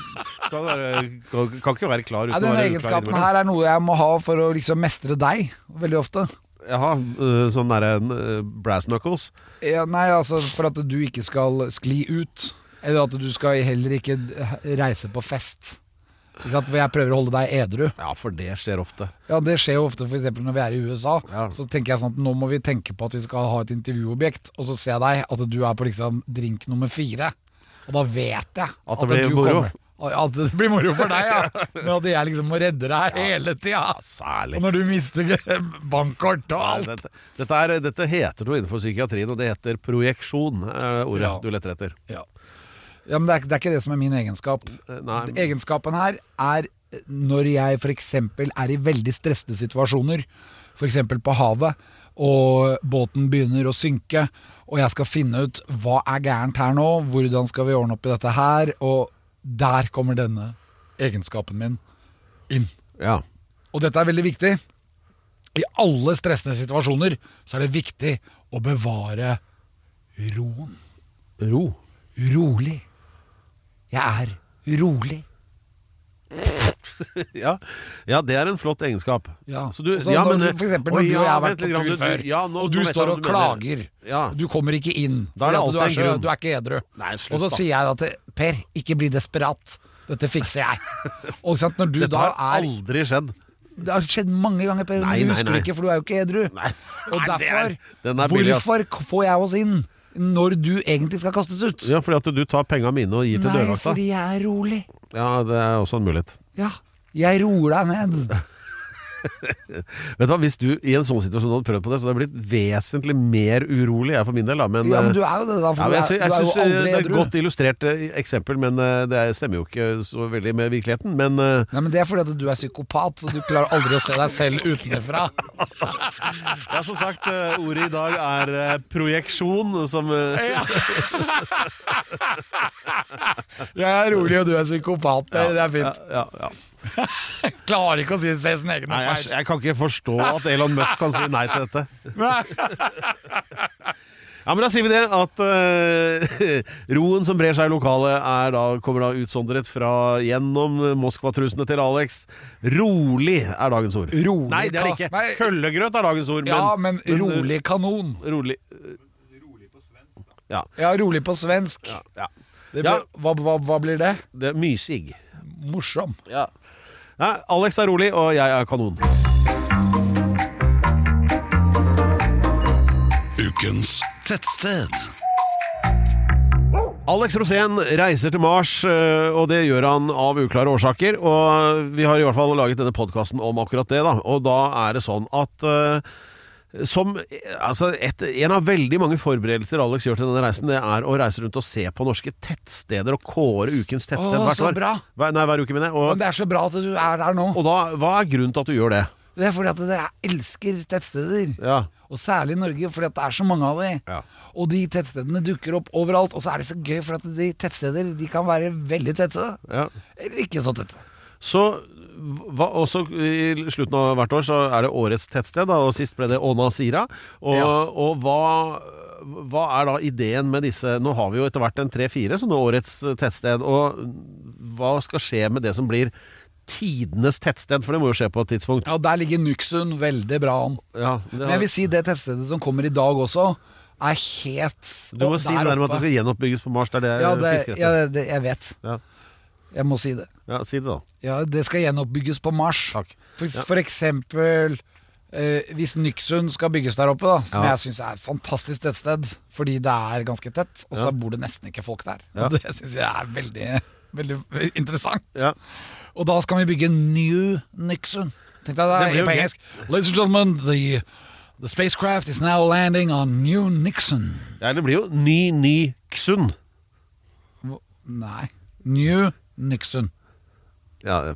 Kan, være, kan, kan ikke være klar
Nei,
uten å
den
være uklar
egenskapen
innimellom.
her er noe jeg må ha for å liksom mestre deg, veldig ofte.
Jaha, øh, sånn derre øh, brass knuckles.
Ja, nei, altså for at du ikke skal skli ut. Eller at du skal heller ikke reise på fest. Ikke sant? For jeg prøver å holde deg edru.
Ja, for det skjer ofte.
Ja, Det skjer jo ofte for eksempel når vi er i USA.
Ja.
Så tenker jeg sånn at nå må vi tenke på at vi skal ha et intervjuobjekt, og så ser jeg deg at du er på liksom drink nummer fire. Og da vet jeg
At det blir
du
moro.
kommer. At det blir moro for deg, ja. Men at jeg liksom må redde deg hele tida.
Særlig.
Og når du mister bankkort og
Nei,
alt.
Dette, dette, er, dette heter noe innenfor psykiatrien, og det heter projeksjon. Er ordet
Ja.
du leter etter.
Ja. ja, men det er, det er ikke det som er min egenskap.
Eh, Nei,
Egenskapen her er eh, når jeg f.eks. er i veldig stressede situasjoner, f.eks. på havet, og båten begynner å synke, og jeg skal finne ut hva er gærent her nå, hvordan skal vi ordne opp i dette her, og der kommer denne egenskapen min inn.
ja.
Og dette er veldig viktig. I alle stressende situasjoner så er det viktig å bevare roen.
Ro.
Rolig. Jeg er rolig.
Ja. ja, det er en flott egenskap.
Ja.
Så du,
Og så
ja,
når-
men,
for eksempel
Oi,
når du og jeg
ja,
har vært
vent
på
litt
tur
grann, du-
før,
ja, nå-
og
nå
du
vet jeg
står
hva
og
du mener.
klager.
Ja.
Du kommer ikke inn.
Da er det
fordi at du,
alltid en
så-
grunn.
du er ikke edru.
Nei, slutt
og så
da.
sier jeg da til Per, ikke bli desperat. Dette fikser jeg. Og ikke sant, når du
Dette
da
har
er
aldri skjedd.
Det har skjedd mange ganger, Per, men
Nei,
du
nei,
husker
nei.
det ikke, for du er jo ikke edru.
Nei.
Og
Nei, det
derfor
er- den er billig, altså. ass.
Hvorfor k- får jeg oss inn når du egentlig skal kastes ut?
Ja, fordi at du tar penga mine og gir til
Nei,
dørvakta.
fordi jeg er rolig.
Ja, det er også en mulighet.
Ja. Jeg roer deg ned.
Vet du hva, Hvis du i en sånn situasjon hadde prøvd på det, så hadde jeg blitt vesentlig mer urolig jeg for min del. da Men,
Ja, men
eh,
du er jo det, da. For
ja, men jeg,
du
sy-
er,
jeg
du er jo
syns eh,
aldri
det er et
edru.
godt illustrert eh, eksempel, men eh, det er- stemmer jo ikke så veldig med virkeligheten. Men eh,
Nei, men Det er fordi at du er psykopat, og du klarer aldri å se deg selv utenfra.
ja, som sagt, eh, ordet i dag er eh, projeksjon, som eh,
Jeg er rolig, og du er psykopat. Det, det er fint.
Ja, ja, ja.
Klarer ikke å si, se sin egen
Nei, jeg,
feil.
jeg kan ikke forstå at Elon Musk kan si nei til dette.
Nei.
Ja, men Da sier vi det at eh, roen som brer seg i lokalet, er da, kommer da utsondret fra gjennom Moskva-trusene til Alex. Rolig er dagens ord.
Rolig
Nei, det er det ikke.
ka- Nei.
Køllegrøt er dagens ord.
Ja, men rolig kanon.
Rolig på svensk, da. Ja.
Ja, rolig på svensk.
ja.
Det
Ja.
blir, hva, hva, hva blir det?
Det er mysig.
Morsom.
Ja. Nei, Alex er rolig, og jeg er kanon.
Ukens tettsted.
Alex Rosén reiser til Mars, øh, og det gjør han av uklare årsaker. Og vi har i hvert fall laget denne podkasten om akkurat det, da. Og da er det sånn at øh, som eh, altså et, En av veldig mange forberedelser Alex gjør til denne reisen, det er å reise rundt og se på norske tettsteder og kåre ukens tettsted
Åh,
hvert
så
år.
bra.
Hver, nei, hver uke, mener jeg.
Men
Og,
det er så bra at du er her nå.
og da, hva er grunnen til at du gjør det?
Det er fordi at jeg elsker tettsteder.
Ja.
Og særlig i Norge, fordi at det er så mange av de.
Ja.
Og de tettstedene dukker opp overalt. Og så er det så gøy, for at de tettsteder de kan være veldig tette.
ja.
Eller ikke så tette.
Så hva, også i slutten av hvert år så er det årets tettsted, da, og sist ble det Åna Sira. Og,
Ja.
og hva, hva er da ideen med disse Nå har vi jo etter hvert en tre-fire sånne årets tettsted, og hva skal skje med det som blir tidenes tettsted? For det må jo skje på et tidspunkt.
Ja, der ligger Nuksund veldig bra an.
Ja, det-
Men jeg vil si det tettstedet som kommer i dag også, er helt
du må si det der med at det skal gjenoppbygges på Mars. Det er det
ja,
jeg
det,
fisker
ja,
etter.
det, Jeg vet.
Ja.
Jeg må si det.
Ja, si det, da.
Ja, det skal gjenoppbygges på Mars.
Takk.
For,
Ja.
for eksempel eh, hvis Nyksund skal bygges der oppe, da, som
Ja.
jeg syns er et fantastisk tettsted, fordi det er ganske tett, og så
Ja.
bor det nesten ikke folk der.
Ja.
Og det syns jeg er veldig, veldig interessant.
Ja.
Og da skal vi bygge New Nyksund. Tenkte jeg
Det blir
det
jo
på
gøy.
engelsk. Ladies and gentlemen, the, the spacecraft is now landing on New Nixon.
ja, det blir jo Ny Ny Ksund.
Nei. New Nixon.
Ja, det,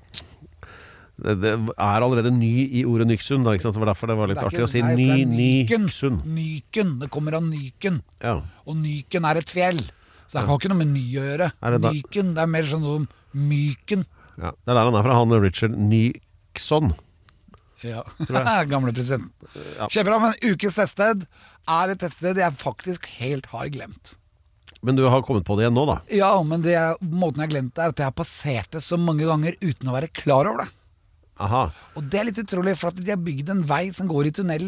det, det er allerede ny i ordet Nyksund, da, ikke sant? Det var derfor det var litt
Det er
artig
ikke-
å si
nei, for det er
ny
Nyken.
Nyksund.
Nyken. Det kommer av Nyken.
Ja.
Og Nyken er et fjell. Så det har ikke noe med ny å gjøre.
Er det da-
Nyken, det er mer sånn som Myken.
ja. Det er der han er fra, han Richard Nyksen Nixon.
Ja.
Tror
Gamle president. Kjempebra, men ukens tettsted er et tettsted jeg faktisk helt har glemt.
Men du har kommet på det igjen nå, da?
Ja, men det, jeg- måten jeg har glemt det, er at jeg har passert det så mange ganger uten å være klar over det.
Aha.
Og det er litt utrolig, for at de har bygd en vei som går i tunnel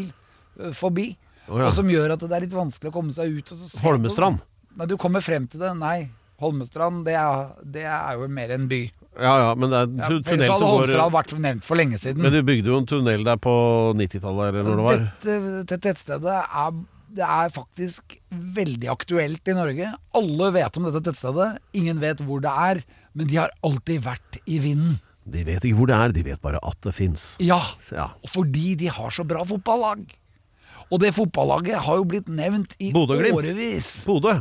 ø, forbi.
Å ja.
Og som gjør at det er litt vanskelig å komme seg ut. Og så ser du-
Holmestrand.
Nei, du kommer frem til det. Nei, Holmestrand det er, det er jo mer en by.
Ja ja, men det er
Ja,
tu-
for ellers
tunnel
hadde
som
Holmestrand
går
vært nevnt for lenge siden.
Men du bygde jo en tunnel der på 90-tallet, eller når det var?
Dette, dette tettstedet er, det er faktisk veldig aktuelt i Norge. Alle vet om dette tettstedet, ingen vet hvor det er, men de har alltid vært i vinden.
De vet ikke hvor det er, de vet bare at det fins.
Ja,
Ja.
fordi de har så bra fotballag. Og det fotballaget har jo blitt nevnt i
Bodø og Glimt.
årevis.
Bodø.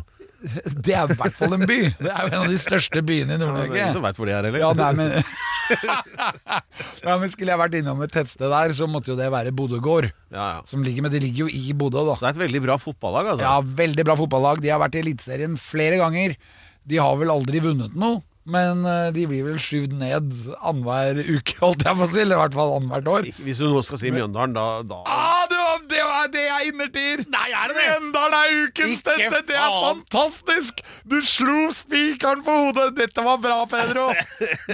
Det er i hvert fall en by. Det er jo en av de største byene i
Det er ingen som
Nord-Norge.
veit hvor de er heller.
Ja, nei, men... nei, men skulle jeg vært innom et tettsted der, så måtte jo det være Bodøgård.
ja, ja.
Som ligger, men det ligger jo i Bodø, da.
Så det er et veldig bra fotballag, altså.
Ja, veldig bra fotballag. De har vært i Eliteserien flere ganger. De har vel aldri vunnet noe, men eh, de blir vel skyvd ned annenhver uke, holdt jeg på å si. Eller i hvert fall annethvert år.
Ikke- Hvis du nå skal si Mjøndalen, da, da.
Ah, det, var, det var det jeg innertier! Nei, er det det? Mjøndalen er ukens
Ikke
dette! Det er
faen.
fantastisk! Du slo spikeren på hodet! Dette var bra, Pedro!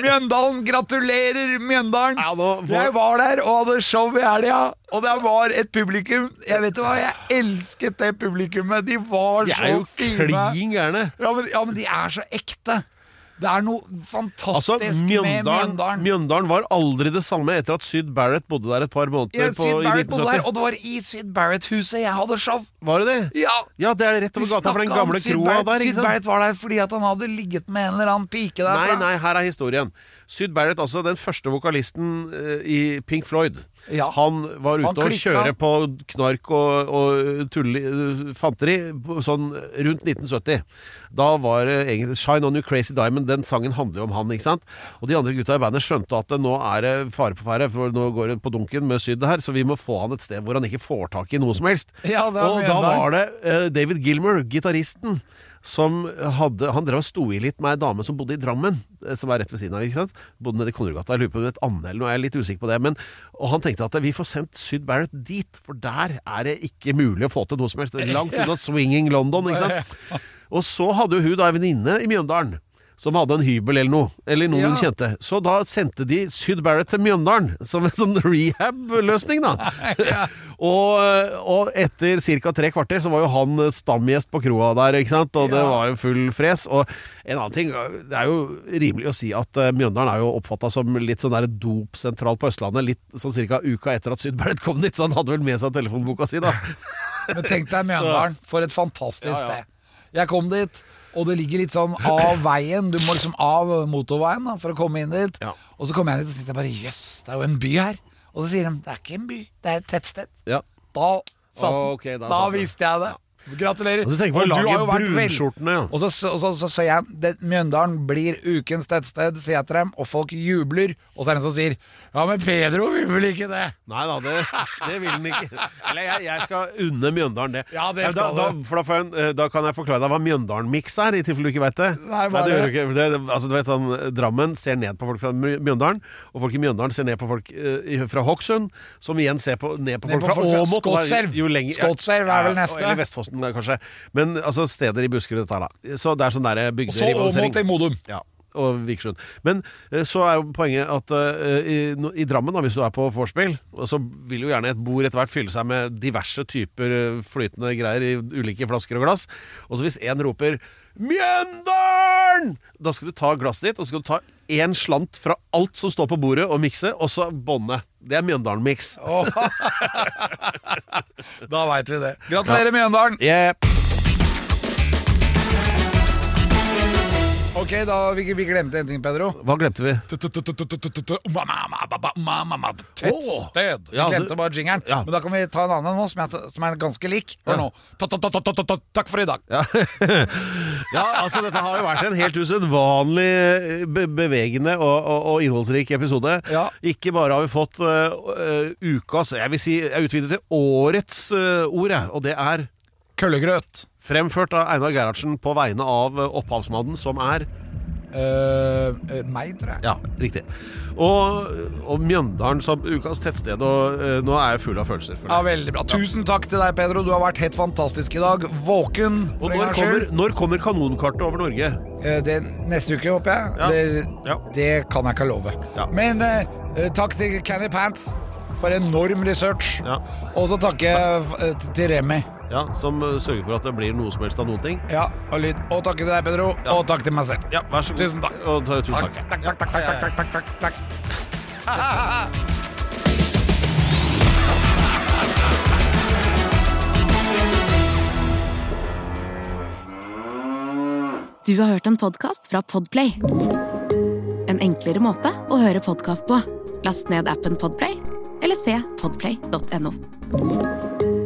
Mjøndalen, gratulerer, Mjøndalen!
Ja, nå får-
Jeg var der og hadde show i helga, og det var et publikum Jeg vet du hva, jeg elsket det publikummet! De var
De
så
er jo
fine!
klin gærne.
Ja men, ja, men de er så ekte! Det er noe fantastisk
Altså,
med
Mjøndalen,
Mjøndalen.
Mjøndalen var aldri det samme etter at Syd Barrett bodde der et par
Ja,
måneder på,
Syd
i
Barrett bodde der,
1970.
og det var i Syd Barrett-huset jeg hadde show!
Var det det?
Ja!
Ja, det er rett over
Vi
gata for den
snakket om
gamle
Syd
kroa
Barrett.
der. ikke
Syd
sant?
Barrett var der fordi at han hadde ligget med en eller annen pike der.
Nei, nei, her er historien. Syd Barrett, altså den første vokalisten eh, i Pink Floyd,
Ja.
han var ute
Han
og
klikka.
kjøre på knark og, og tulli, fanteri på- sånn rundt 1970. Da var det egentlig Shine On You Crazy Diamond, den sangen handler jo om han, ikke sant? Og de andre gutta i bandet skjønte at det, nå er det fare på ferde, for nå går det på dunken med Syd her, så vi må få han et sted hvor han ikke får tak i noe som helst.
Ja, det er
og
mye
da
der.
var det eh, David Gilmer, gitaristen, som hadde Han drev og sto i litt med ei dame som bodde i Drammen, eh, som er rett ved siden av. ikke sant? Bodde nede i Konnerudgata. Jeg lurer på om det het Anne eller noe, jeg er litt usikker på det. Men, og han tenkte at vi får sendt Syd Barrett dit, for der er det ikke mulig å få til noe som helst. Det er Langt unna swinging London, ikke sant. Og så hadde jo hun da ei venninne i Mjøndalen. Som hadde en hybel eller noe. Eller noen hun
Ja.
kjente. Så da sendte de Syd Barrett til Mjøndalen som en sånn rehab-løsning, da. Og, og etter ca. tre kvarter så var jo han stamgjest på kroa der, ikke sant? og det
Ja.
var jo full fres. Og en annen ting, det er jo rimelig å si at eh, Mjøndalen er jo oppfatta som litt sånn der dopsentral på Østlandet, litt sånn ca. uka etter at Sydbernet kom dit, så han hadde vel med seg telefonboka si, da.
Men tenk deg Mjøndalen, for et fantastisk
Ja, ja.
sted. Jeg kom dit, og det ligger litt sånn av veien. Du må liksom av motorveien da, for å komme inn dit.
Ja.
Og så kom jeg dit og tenkte jeg bare jøss, det er jo en by her. Og så sier de det er ikke en by, det er et tettsted.
Ja.
Da satt den.
Ok, da
da
satt den.
visste jeg det. Gratulerer.
Og så tenker man
du
å lage
har jo vært vel-
brunskjortene, ja.
Og så sier så, så, sier jeg det, Mjøndalen blir ukens tettsted, sier jeg til dem, og folk jubler. Og så er det en som sier ja, men Pedro vil vel ikke det?
Nei da, det, det vil den ikke. Eller jeg, jeg skal unne Mjøndalen det.
Ja, det
Men da,
skal
da,
du.
for da, får jeg, en- eh, da kan jeg forklare deg hva Mjøndalen-miks er, i tilfelle du ikke veit det.
Nei, hva
det
er
gjør du ikke. for Det, det- altså, du vet, han, Drammen ser ned på folk fra Mj- Mjøndalen, og folk i Mjøndalen ser ned på folk eh, i- fra Hokksund, som igjen ser på, ned på
Ned
folk
på
fra
folk fra
Åmot. og da-
Skotselv.
jo lenger-
Skotselv er vel
Ja,
neste.
Eller Vestfossen, da, kanskje. Men altså steder i Buskerud, dette her, da. Så det er sånn der
Og så
bygderivalisering.
Åmot til Modum.
Ja, og Vikersund. Men eh, så er jo poenget at eh, i, no- i Drammen, da, hvis du er på vorspiel, og så vil jo gjerne et bord etter hvert fylle seg med diverse typer eh, flytende greier i ulike flasker og glass. Og så hvis én roper 'Mjøndalen!', da skal du ta glasset ditt, og så skal du ta én slant fra alt som står på bordet, og mikse, og så bånde. Det er Mjøndalen-miks.
Da veit vi det. Gratulerer, Mjøndalen.
Yep.
Ok, da vi, vi glemte en ting, Pedro.
Hva glemte vi?
Tettsted. Vi
Ja, du-
glemte bare jingeren.
Ja.
Men da kan vi ta en annen nå, som er, som er ganske lik. Hør nå. Takk for i dag.
Ja, altså Dette har jo vært en helt usedvanlig eh, be bevegende og, og, og innholdsrik episode.
Ja.
Ikke bare har vi fått eh, eh, ukas Jeg vil si, jeg utvider til årets eh, ord, jeg, og det er
Køllegrøt.
fremført av Einar Gerhardsen på vegne av eh, opphavsmannen, som er
eh, eh, meg, tror jeg.
Ja, riktig. Og, og Mjøndalen som ukas tettsted, og eh, nå er jeg full av følelser. For
Ja,
det.
Veldig bra. Tusen takk til deg, Pedro. Du har vært helt fantastisk i dag. Våken. for
Og
en
når
gangs
kommer,
skyld.
når kommer kanonkartet over Norge?
Eh, Det neste uke, håper jeg.
Ja.
Eller,
Ja.
Det kan jeg ikke love.
Ja.
Men eh, eh, takk til Candy Pants for enorm research.
Ja.
Og så takker jeg eh, t- til Remi.
Ja, Som eh, sørger for at det blir noe som helst av noen ting?
Ja, og lyd. Og takk til deg, Pedro.
Ja.
Og takk til meg selv.
Ja, vær så god.
Tusen takk.
Og, ta- tusen takk.
Takk, takk, takk, takk, takk, takk, takk, takk.
Du har hørt en podcast fra Podplay En enklere måte å høre podcast på Last ned appen Podplay Eller se podplay.no